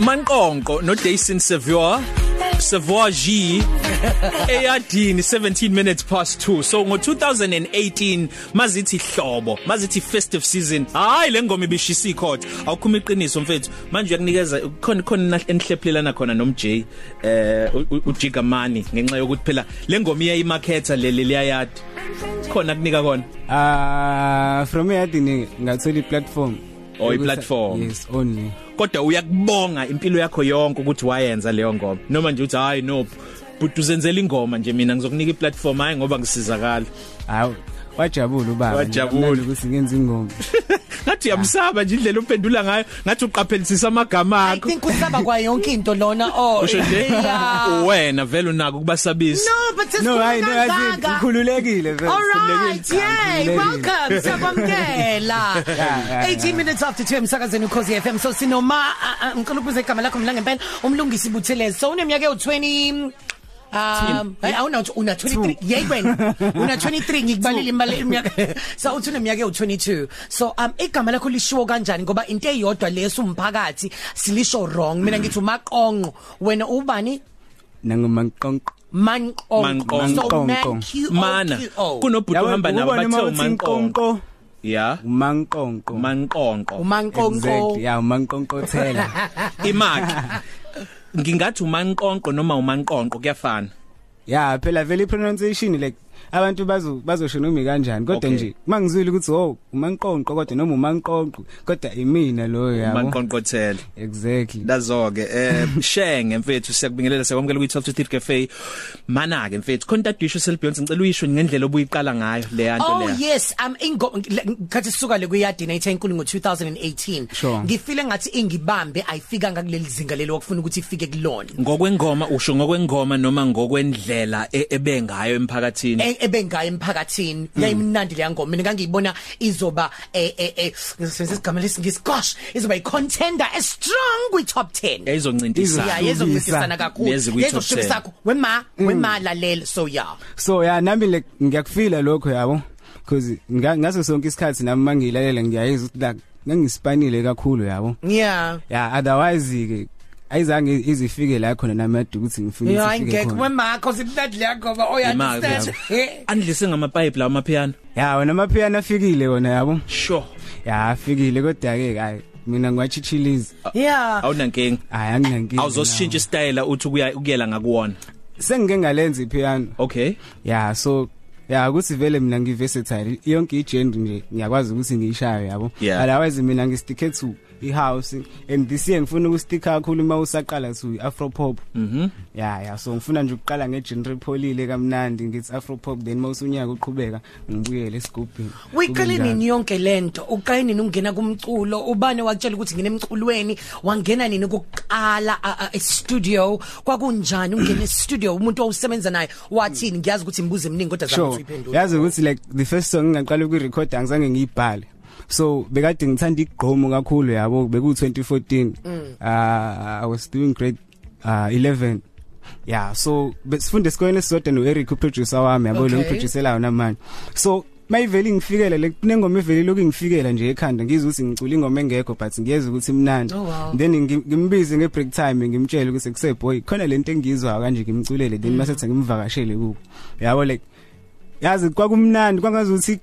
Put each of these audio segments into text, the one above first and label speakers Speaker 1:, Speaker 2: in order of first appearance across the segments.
Speaker 1: uMankonko noDason Savoy Savoy G eyadini 17 minutes past 2 so ngo 2018 mazithi hlobo mazithi festive season hayi lengoma ibishisa ikhotha awukhuma iqiniso mfethu manje uyakunikeza khona khona enhlephulelana khona nomJ eh ujigamani ngenxa yokuthi phela lengoma iyayimarketa le leyayad khona kunika khona
Speaker 2: Ah from here dini ngathola i-platform.
Speaker 1: Oh, i-platform.
Speaker 2: Yes, only.
Speaker 1: kodwa uyakubonga impilo yakho yonke ukuthi wayenza leyo ngoma noma nje uthi hayi no but uzenzela ingoma nje mina ngizokunika i-platform hayi ngoba ngisizakala
Speaker 2: Hawu. Wajabula ubaba.
Speaker 1: Wajabula.
Speaker 2: Nami ukuthi ngenze ingoma.
Speaker 1: ngathi uyamsaba nje indlela uphendula ngayo ngathi uqaphelisisa amagama
Speaker 3: I
Speaker 1: akho
Speaker 3: think usaba kwa yonke into lona oh.
Speaker 1: usho nje
Speaker 3: yeah.
Speaker 1: wena vele unako ukubasabisa
Speaker 3: No, but it's
Speaker 2: No, hayi no,
Speaker 3: Mpumalanga.
Speaker 2: yazi ngikhululekile vele.
Speaker 3: All right,
Speaker 2: ngikhululekile.
Speaker 3: yay,
Speaker 2: Ngikhululekile.
Speaker 3: welcome. Siyakwamkela.
Speaker 2: yeah,
Speaker 3: 18 minutes after 2 emsakazeni ukhosi FM. So sinoma ah, ah, ngicela ukubuza igama lakho mla ngempela umlungisi Buthelezi. So uneminyaka ewu20 Um, hey, awuna una 23 yey wena una 23 ngikubalile imali iminyaka so uthi uneminyaka ewu22 so um igama lakho lishiwo kanjani ngoba into eyodwa leso umphakathi silisho wrong mina ngithi umaqonqo wena ubani
Speaker 2: Nangomanqonqo.
Speaker 3: manqonqo so
Speaker 2: Manqonqo.
Speaker 3: man Q O Q O.
Speaker 1: mana
Speaker 3: Oh.
Speaker 1: kunobhuti uhamba nabo bathe umanqonqo
Speaker 2: umanqonqo.
Speaker 1: ya
Speaker 2: Umanqonqo.
Speaker 1: manqonqo
Speaker 3: umanqonqo
Speaker 2: Exactly. Yeah, umanqonqo thela.
Speaker 1: imaki ngingathi umanqonqo noma umanqonqo kuyafana
Speaker 2: Yeah, phela vele pronunciation like abantu bazo bazoshona umi kanjani kodwa
Speaker 1: Okay.
Speaker 2: nje mangizwile ukuthi oh umanqonqo kodwa noma umanqonqo kodwa imina lo yabo.
Speaker 1: umanqonqothele
Speaker 2: Exactly.
Speaker 1: Dazoke eh shenge mfethu siyakubingelela siyakwamukela ku 12 Cafe mana ke mfethu khona dadisho selibhiyonsi ngicela uyisho ngendlela obuyiqala ngayo le yanto
Speaker 3: Oh
Speaker 1: le
Speaker 3: yes um ingoma ngathi sisuka le kuyadina ethe inkulu ngo2018
Speaker 2: Sure.
Speaker 3: ngifile ngathi ingibambe ayifika ngakuleli zinga lelo okufuna ukuthi ifike kulona
Speaker 1: ngokwengoma usho ngokwengoma noma ngokwendlela e- ebengayo emphakathini
Speaker 3: E- ebengayo emphakathini
Speaker 2: Mm.
Speaker 3: yayimnandi leya ngoma mina ngangiyibona izoba eh eh eh ngisebenzisa isigama lesingisgosh izoba icontender a strong kwi top
Speaker 2: Eh,
Speaker 3: 10
Speaker 1: ezoncintisana
Speaker 3: yeah
Speaker 2: Iza-
Speaker 3: yezokucisana kakhulu
Speaker 1: Lezi kwi- top
Speaker 3: yezoshisa
Speaker 1: 10.
Speaker 3: kakho wema
Speaker 2: Mm.
Speaker 3: wema lalela so yeah
Speaker 2: so yeah nami like ngiyakufila lokho yabo because ngaso sonke isikhathi nami mangilalela ngiyayizwa ukuthi like ngangispanile kakhulu yabo
Speaker 3: yeah
Speaker 2: yeah otherwise ke ayizange izifike la khona nami yadu ukuthi ngifuna
Speaker 3: yeah
Speaker 2: ukuthi
Speaker 3: i
Speaker 2: ifike
Speaker 3: get
Speaker 2: khona
Speaker 3: wema cause imnandi leya ngoma oh you
Speaker 1: Imali
Speaker 3: understand Eh,
Speaker 1: yabo. andlise ngamapipe lawo amapiano
Speaker 2: yeah wena amapiano afikile wona yabo
Speaker 1: sure
Speaker 2: yeah afikile kodwa ke hayi mina ngiwachichiliza
Speaker 3: yeah
Speaker 1: awunankinga
Speaker 2: hayi anginankingi
Speaker 1: awuzoshintsha istyle uthi kuya kuyela ngakuwona
Speaker 2: sengike ngalenza ipiano
Speaker 1: okay
Speaker 2: yeah so yeah ukuthi vele mina ngiversatile yonke igenre nje ngiyakwazi ukuthi ngiyishaye yabo
Speaker 1: Yeah.
Speaker 2: otherwise mina ngistick to ihouse and this year ngifuna ukustick kakhulu uma usaqala to afro pop mhm yeah yeah so ngifuna nje ukuqala ngegenre pholile kamnandi ngithi afro pop then mawusunyaka uqhubeka ngibuyele esigubhini
Speaker 3: Uyiqale
Speaker 2: Kube njalo.
Speaker 3: nini yonke lento? Uqale nini ungena kumculo? Ubani wakutshela ukuthi ngine emculweni? Wangena nini ukuqala a- a- e-studio? Kwakunjani ungena e-studio umuntu owusebenza naye? Wathini? Ngiyazi ukuthi imbuzo eminingi kodwa zama
Speaker 2: sure
Speaker 3: uyiphendula.
Speaker 2: yazi ukuthi like the first song ngingaqala ukuyirecord angizange ngiyibhale so bekade ngithanda igqomo kakhulu yabo beku 2014
Speaker 3: Mm.
Speaker 2: uh i was doing grade uh 11 yeah so besifunde esikoleni esizodwa no Eric uproducer wami yabo lo
Speaker 3: Okay.
Speaker 2: ngiproducelayo namanje so mayiveli ngifikele le kunengoma eveli lokhu ngifikela nje ekhanda ngizwe ukuthi ngicula ingoma engekho but ngiyeza ukuthi imnandi
Speaker 3: Oh, wow.
Speaker 2: then ngi- ngimbize nge break time ngimtshele ukuthi kuse boy khona lento engizwayo kanje ngimculele
Speaker 3: Mm.
Speaker 2: then masethe ngimvakashele kubo yabo like yazi kwakumnandi kwangazuthi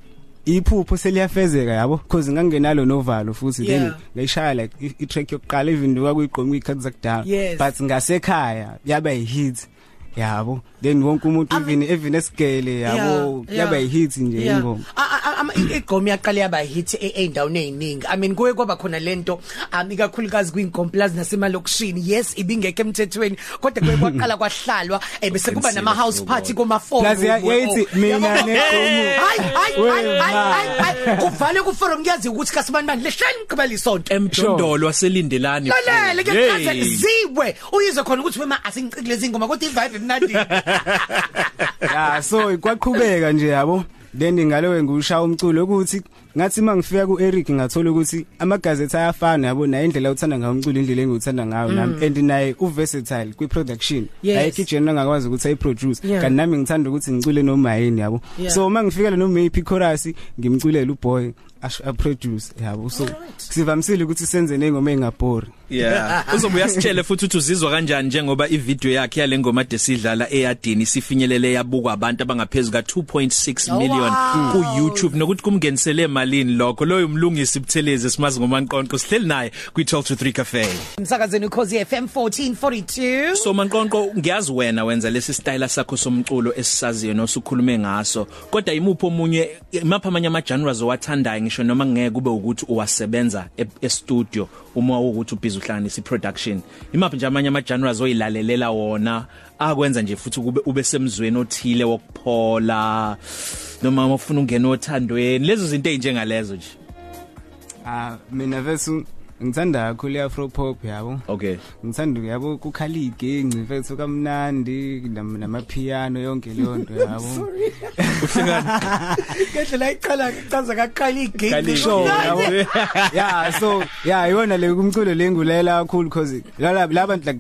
Speaker 2: iphupho seliyafezeka yabo because ngangenalo novalo futhi then
Speaker 3: Yeah.
Speaker 2: ngayishaya like i- i track yokuqala even though kwakuyigqoma ikhathi zakudala
Speaker 3: Yes.
Speaker 2: but ngasekhaya yaba i hit yabo then wonke umuntu even even esigele yabo
Speaker 3: Yeah,
Speaker 2: yaba i hit nje
Speaker 3: Yeah.
Speaker 2: ingoma
Speaker 3: A- a- a- ama- i- igqomi yaqale yaba hit eindaweni eziningi. I mean kuye kwaba khona lento ami kakhulukazi kwinkomplazi nasemalokishini. Yes, ibingeke emthethweni kodwa kuye kwaqala kwahlalwa ebese kuba nama house party koma forum.
Speaker 2: plus ya- yayithi
Speaker 3: oh.
Speaker 2: mina negqomo
Speaker 3: hayi hayi hayi
Speaker 2: Wema.
Speaker 3: hayi hayi kuvale ku forum ngiyazi ukuthi kasibani bani lehlani mgqibela isonto
Speaker 1: emdondolo waselindelani
Speaker 3: lalele ke
Speaker 1: Hey.
Speaker 3: kaze ziwe uyizwe khona ukuthi wema asingicikile zingoma kodwa ivibe imnandi
Speaker 2: yeah so kwaqhubeka nje yabo then ngalowe ngiushaya umculo ukuthi ngathi mangifika kuEric ngathola ukuthi amagazethi ayafana yabo naye indlela uthanda ngayo umculo indlela engiwuthanda ngayo nami and naye uversatile kwiproduction
Speaker 3: Mm. Yes.
Speaker 2: ayikho ijeni angakwazi ukuthi ayiproduce
Speaker 3: Yeah.
Speaker 2: kanti nami ngithanda ukuthi ngicule nomayini yabo
Speaker 3: Yeah.
Speaker 2: so mangifikele noMappy chorus ngimculela uBoy ash- aproduce yabo so sivamsile ukuthi senze nengoma engabhori
Speaker 1: Yeah. Uzobuya sitshele futhi ukuthi uzizwa kanjani njengoba ivideo yakhe yale ngoma desidlala eyadini sifinyelele yabukwa abantu abangaphezulu ka 2.6
Speaker 3: Oh,
Speaker 1: million
Speaker 3: wow.
Speaker 1: ku YouTube nokuthi kumngenisele emalini lokho loyo umlungisi Buthelezi simazi ngomanqonqo sihleli naye kwi 12 to 3 cafe.
Speaker 3: Umsakazeni ukhosi FM 1442.
Speaker 1: So manqonqo ngiyazi wena wenza lesi style sakho somculo esisaziyo nosukhulume ngaso kodwa imupho omunye imapha amanye ama genres owathandayo ngisho noma ngeke kube ukuthi uwasebenza e- e-studio uma ukuthi ubhizi uhlanganisa i-production imaphi nje amanye ama genres oyilalelela wona akwenza nje futhi kube ube semzweni othile wokuphola noma uma ufuna ungena othandweni lezo zinto ezinjengalezo nje
Speaker 2: ah mina vethu ngithanda kakhulu iafro pop yabo
Speaker 1: okay
Speaker 2: ngithanda yabo kukhala igenci vethu kamnandi nam- namapiano yonke leyo nto yabo
Speaker 1: uhlekana
Speaker 3: Ngendlela ayiqala ichaza kaqala igate.
Speaker 1: Kali-
Speaker 2: show
Speaker 1: Yabo.
Speaker 2: yabo yeah so yeah yona le kumculo le ngulela kakhulu because laba labantu like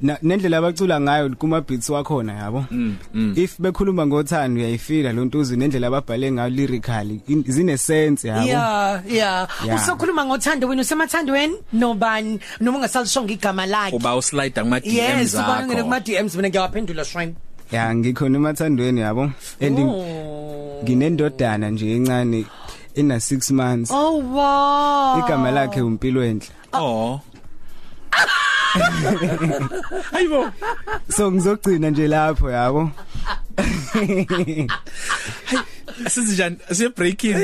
Speaker 2: na- nendlela abacula ngayo kuma beats wakhona yabo
Speaker 3: Mm,
Speaker 2: if bekhuluma ngothando uyayifila lo ntuzi nendlela ababhale ngayo lyrically in- zine sense yabo
Speaker 3: Yeah, yeah.
Speaker 2: Yeah.
Speaker 3: Usokhuluma ngothando wena usemathandweni nobani noma ungasalishonga igama lakhe.
Speaker 1: uba uslide kuma DMs
Speaker 3: Yes, ubani ngene kuma
Speaker 1: akho
Speaker 3: DMs mina ngiyawaphendula shine.
Speaker 2: yeah ngikhona emathandweni yabo and
Speaker 3: Oh.
Speaker 2: nginendodana nje encane ina 6 months
Speaker 3: Oh wow.
Speaker 2: igama lakhe umpilo enhle
Speaker 1: oh Hayibo
Speaker 2: so ngizogcina nje lapho yabo
Speaker 1: Sizinjani siya breaking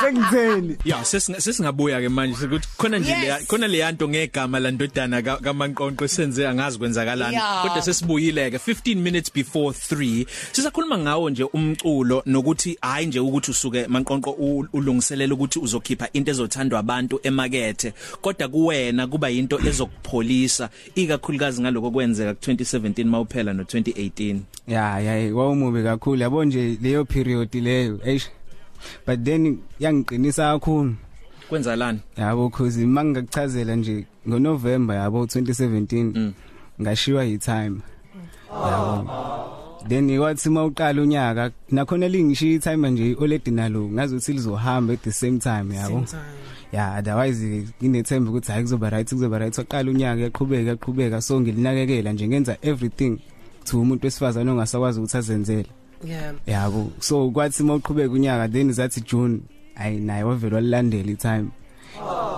Speaker 2: sengitheni
Speaker 1: Yeah sesinga- sesingabuya ke manje ukuthi khona nje
Speaker 3: Yes.
Speaker 1: leya- khona le yanto ngegama landodana ka- kaManqonqo senze angazi kwenzakalani
Speaker 3: Yeah.
Speaker 1: kodwa sesibuyile ke 15 minutes before 3 sisakhuluma ngawo nje umculo nokuthi hayi nje ukuthi usuke Manqonqo u- ulungiselela ukuthi uzokhipha into ezothandwa abantu emakethe kodwa kuwena kuba into ezokupholisa ikakhulukazi ngaloko kwenzeka ku2017 mawuphela no2018
Speaker 2: ya ya wawumubi kakhulu yabo nje leyo period leyo eish but then yangiqinisa kakhulu
Speaker 1: kwenzalani
Speaker 2: yabo cause mangingakuchazela nje ngoNovember yabo 2017 ngashiwa yitime yabo then ikwathi mawuqala unyaka nakhona lingishiya itime nje ioledi nalo ngazi ukuthi lizohamba at the same time yabo ya otherwise nginethemba ukuthi hayi kuzoba right kuzoba right waqala unyaka yaqhubeka yaqhubeka so ngilinakekela nje ngenza everything to umuntu wesifazane ongasakwazi ukuthi azenzele
Speaker 3: Yeah.
Speaker 2: yabo so kwathi mawuqhubeka unyaka then zathi June ayi naye wavele walilandela itime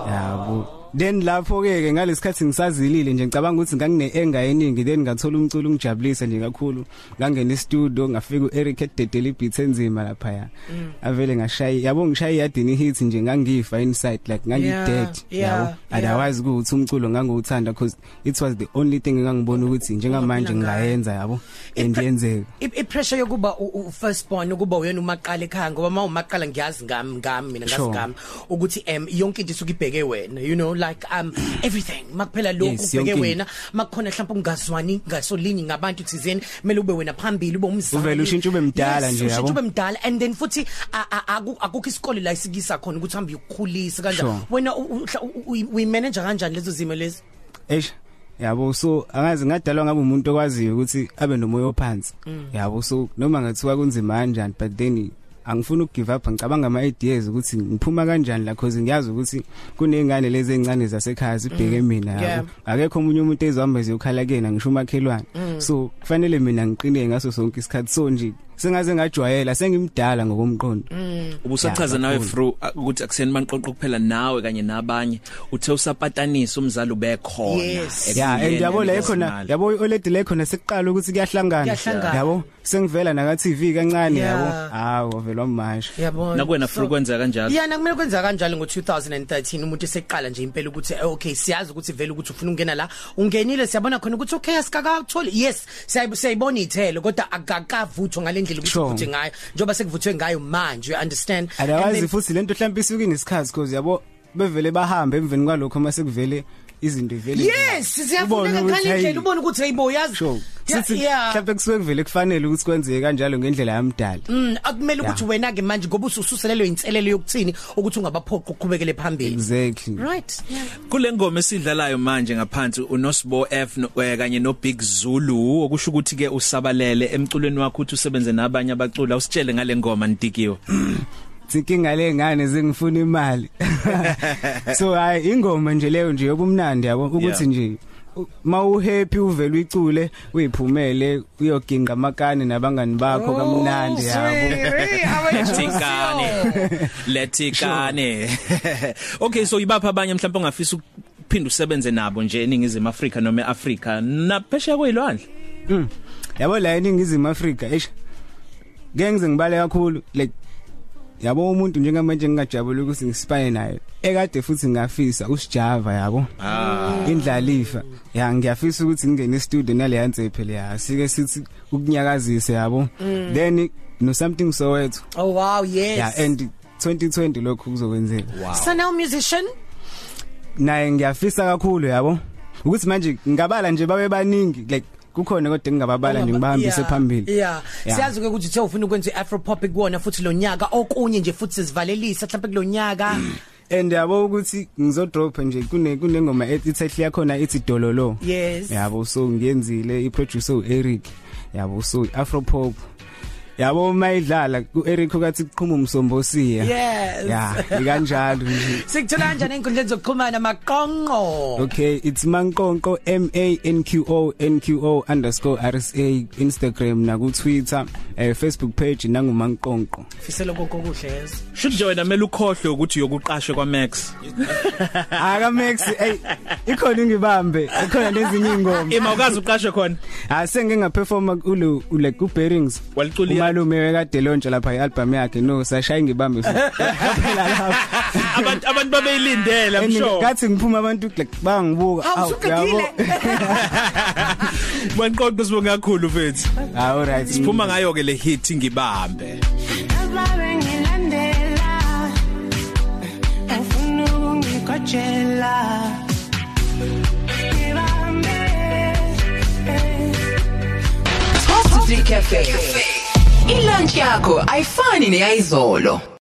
Speaker 2: yabo then lapho ke ke ngalesikhathi ngisazilile nje ngicabanga ukuthi ngangine anger eningi then ngathola umculo ungijabulisa nje kakhulu ngangena e-studio ngafika uEric ededele ibeat enzima lapha ya
Speaker 3: Mm.
Speaker 2: avele ngashaya yabo ngishaya yadini hit nje ngangifa inside like
Speaker 3: Yeah,
Speaker 2: ngangidead
Speaker 3: yeah,
Speaker 2: yabo
Speaker 3: yeah.
Speaker 2: otherwise ukuthi umculo ngangiwuthanda because it was the only thing engangibona ukuthi njengamanje
Speaker 3: Ungaphila ngayo.
Speaker 2: ngiyayenza yabo and
Speaker 3: Ipre-
Speaker 2: yenzeka
Speaker 3: I i- pressure yokuba u- u first born ukuba uyena umaqala ekhaya ngoba uma umaqala ngiyazi ngami ngami mina ngazi
Speaker 2: Sure.
Speaker 3: ngami ukuthi em yonke into isuke ibheke wena you know like um everything makuphela lokhu
Speaker 2: Yes,
Speaker 3: ubheke
Speaker 2: yonke
Speaker 3: wena makukhona mhlawumbe ungazwani ngasolinye ngabantu thizeni kumele ube wena phambili ube umzali
Speaker 2: Uvele ushintshe ube mdala
Speaker 3: Yes,
Speaker 2: nje,
Speaker 3: ushintshe
Speaker 2: yabo?
Speaker 3: ube mdala and then futhi a- a- aku- akukho isikole la isikisa khona ukuthi hambe ukukhulisa
Speaker 2: Sure.
Speaker 3: kanjani wena u- uhla- u- u- uyi manager kanjani lezo zimo lezi
Speaker 2: eish yabo so angazi ngadalwa ngabe umuntu okwaziyo ukuthi abe nomoya ophansi yabo so noma ngathiwa kunzima kanjani but then angifuni ukugive up ngicabanga ama ideas ukuthi ngiphuma kanjani la cause ngiyazi ukuthi kunezingane lezi ezincane zasekhaya sibheke mina
Speaker 3: Yeah.
Speaker 2: yabo akekho omunye umuntu ezihamba eziyokhala kena ngisho umakhelwane so kufanele mina ngiqine ngaso sonke isikhathi so nje sengaze ngajwayela sengimdala ngokomqondo
Speaker 3: Mm.
Speaker 1: ubusachaza
Speaker 2: Yeah,
Speaker 1: nawe
Speaker 2: kakhulu.
Speaker 1: through uh, ukuthi akuseni manqoqo kuphela nawe kanye nabanye uthe usapatanisa umzali ubekhona
Speaker 3: Yes.
Speaker 2: ya
Speaker 1: ekuyena
Speaker 2: and yabo la
Speaker 1: lesimali.
Speaker 2: ekhona yabo E ioledi la ekhona sekuqala ukuthi kuyahlangana
Speaker 3: Kuyahlangana.
Speaker 2: yabo sengivela naka TV kancane
Speaker 3: Yeah.
Speaker 2: yabo hawo velwa manje
Speaker 3: yabona
Speaker 1: nakuwena
Speaker 3: So-
Speaker 1: through kwenzeka kanjalo
Speaker 3: Yana kumele kwenza kanjalo ngo2013 umuntu eseqala nje impela ukuthi eh, okay siyazi ukuthi vele ukuthi ufuna ungena la ungenile siyabona khona ukuthi okay asikakatholi yes siyayibu- siyayibona ithelo kodwa akakavuthwa ngalendlela ukuthi
Speaker 2: Sure.
Speaker 3: uvuthwe ngayo njoba sekuvuthwe ngayo manje you understand And
Speaker 2: otherwise
Speaker 3: then-
Speaker 2: futhi lento mhlawumbe isuke inesikhazi because yabo bevele bahamba emveni kwalokho mase kuvele izinto ivele
Speaker 3: Yes
Speaker 2: Ubone
Speaker 3: siyafuneka
Speaker 2: ukuthi,
Speaker 3: ngale ndlela
Speaker 2: hey,
Speaker 3: ubona ukuthi hayibo yazi
Speaker 2: Sure.
Speaker 3: Yeah,
Speaker 2: sithi
Speaker 3: yeah.
Speaker 2: mhlawumbe kusuke kuvele kufanele ukuthi kwenzeke kanjalo ngendlela yamdala
Speaker 3: Mm, akumele ukuthi
Speaker 2: Yeah.
Speaker 3: wena ke manje ngoba usususelelwe inselelo yokuthini ukuthi ungabaphoqa ukuqhubekele phambili.
Speaker 2: exactly
Speaker 3: Right. Yeah.
Speaker 1: kulengoma esidlalayo manje ngaphansi uNosbo F no- eh, kanye noBig Zulu okusho ukuthi ke usabalele emculweni wakho uthi usebenze nabanye abaculi usitshele ngale ngoma Ntikiwe
Speaker 2: thinkinga lengane zingifuna imali so hayi ingoma nje leyo nje yobumnandi yabo ukuthi
Speaker 1: Yeah.
Speaker 2: nje u- ma uhappy uvela uicule uyiphumele uyoginqa amakane nabangani bakho kamnandi yabo
Speaker 1: Letikane letikane okay so ibapha abanye mhlawumbe ongafisa ukuphinda usebenze nabo nje eningizimu Africa noma eAfrica naphesheya kwezilwandle
Speaker 2: Mm. yabo la eningizimu afrika eish ngeke ngize ngibale kakhulu like yabo umuntu njengamanje ngingajabula ukuthi ngispaye naye ekade futhi ngafisa usijava yabo
Speaker 1: ah
Speaker 2: indlalifa ya ngiyafisa ukuthi ngingene e-studio naleya nsephe ya sike sithi ukunyakazise yabo then no something sowethu
Speaker 3: Oh
Speaker 2: ya
Speaker 3: wow, Mm. yes.
Speaker 2: and 2020 lokhu kuzokwenzeka
Speaker 1: wow
Speaker 3: Sanel musician?
Speaker 2: naye ngiyafisa kakhulu yabo ukuthi manje ngingabala nje babe baningi like kukhona kodwa ngingababala nje ngibahambise
Speaker 3: Yeah,
Speaker 2: phambili
Speaker 3: Yeah.
Speaker 2: Yeah.
Speaker 3: Siyazi ke ukuthi uthe ufuna ukwenza iAfropop kuwona futhi lonyaka okunye nje futhi sizivalelisa mhlawumbe kulonyaka.
Speaker 2: and yabo ukuthi ngizodrop nje kune kunengoma ethethli yakhona ithi dololo
Speaker 3: Yes.
Speaker 2: yabo so ngiyenzile iproducer uEric yabo so afropop yabo mayidlala uEric ukathi kuqhuma umsombosiya
Speaker 3: Yes.
Speaker 2: yeah ikanjalo nje
Speaker 3: Sikuthola kanjani enkundleni zokuxhumana maqonqo?
Speaker 2: okay it's mankonko m a n q o n q o _rsa instagram na ku twitter eh, facebook page nangu mankonko
Speaker 3: Fisela konke okuhle yes.
Speaker 1: should join amela ukhohle ukuthi yokuqashwe kwaMax
Speaker 2: aka max hey ikhona ngibambe ikhona lezinye ingoma
Speaker 1: ima ukazi uqashwe khona
Speaker 2: asenge ngaperforma kulo ule ku bearings
Speaker 1: Waliculi-
Speaker 2: umalume wekade lontsha lapha ialbum yakhe no sashaya ngibambe phela lapha
Speaker 1: abantu abantu babeyilindela I'm
Speaker 2: And
Speaker 1: sure
Speaker 2: ngathi ngiphuma abantu like bangibuka
Speaker 3: Awu,
Speaker 2: awu,
Speaker 3: usugegile.
Speaker 1: banqoqo sibonga kakhulu mfethu
Speaker 2: all right
Speaker 1: phuma ngayo ke le hit ngibambe
Speaker 4: abangilandela ufuna ukungikojela ngibambe
Speaker 5: Positive Cafe. Ilunch yakho ayifani neyizolo.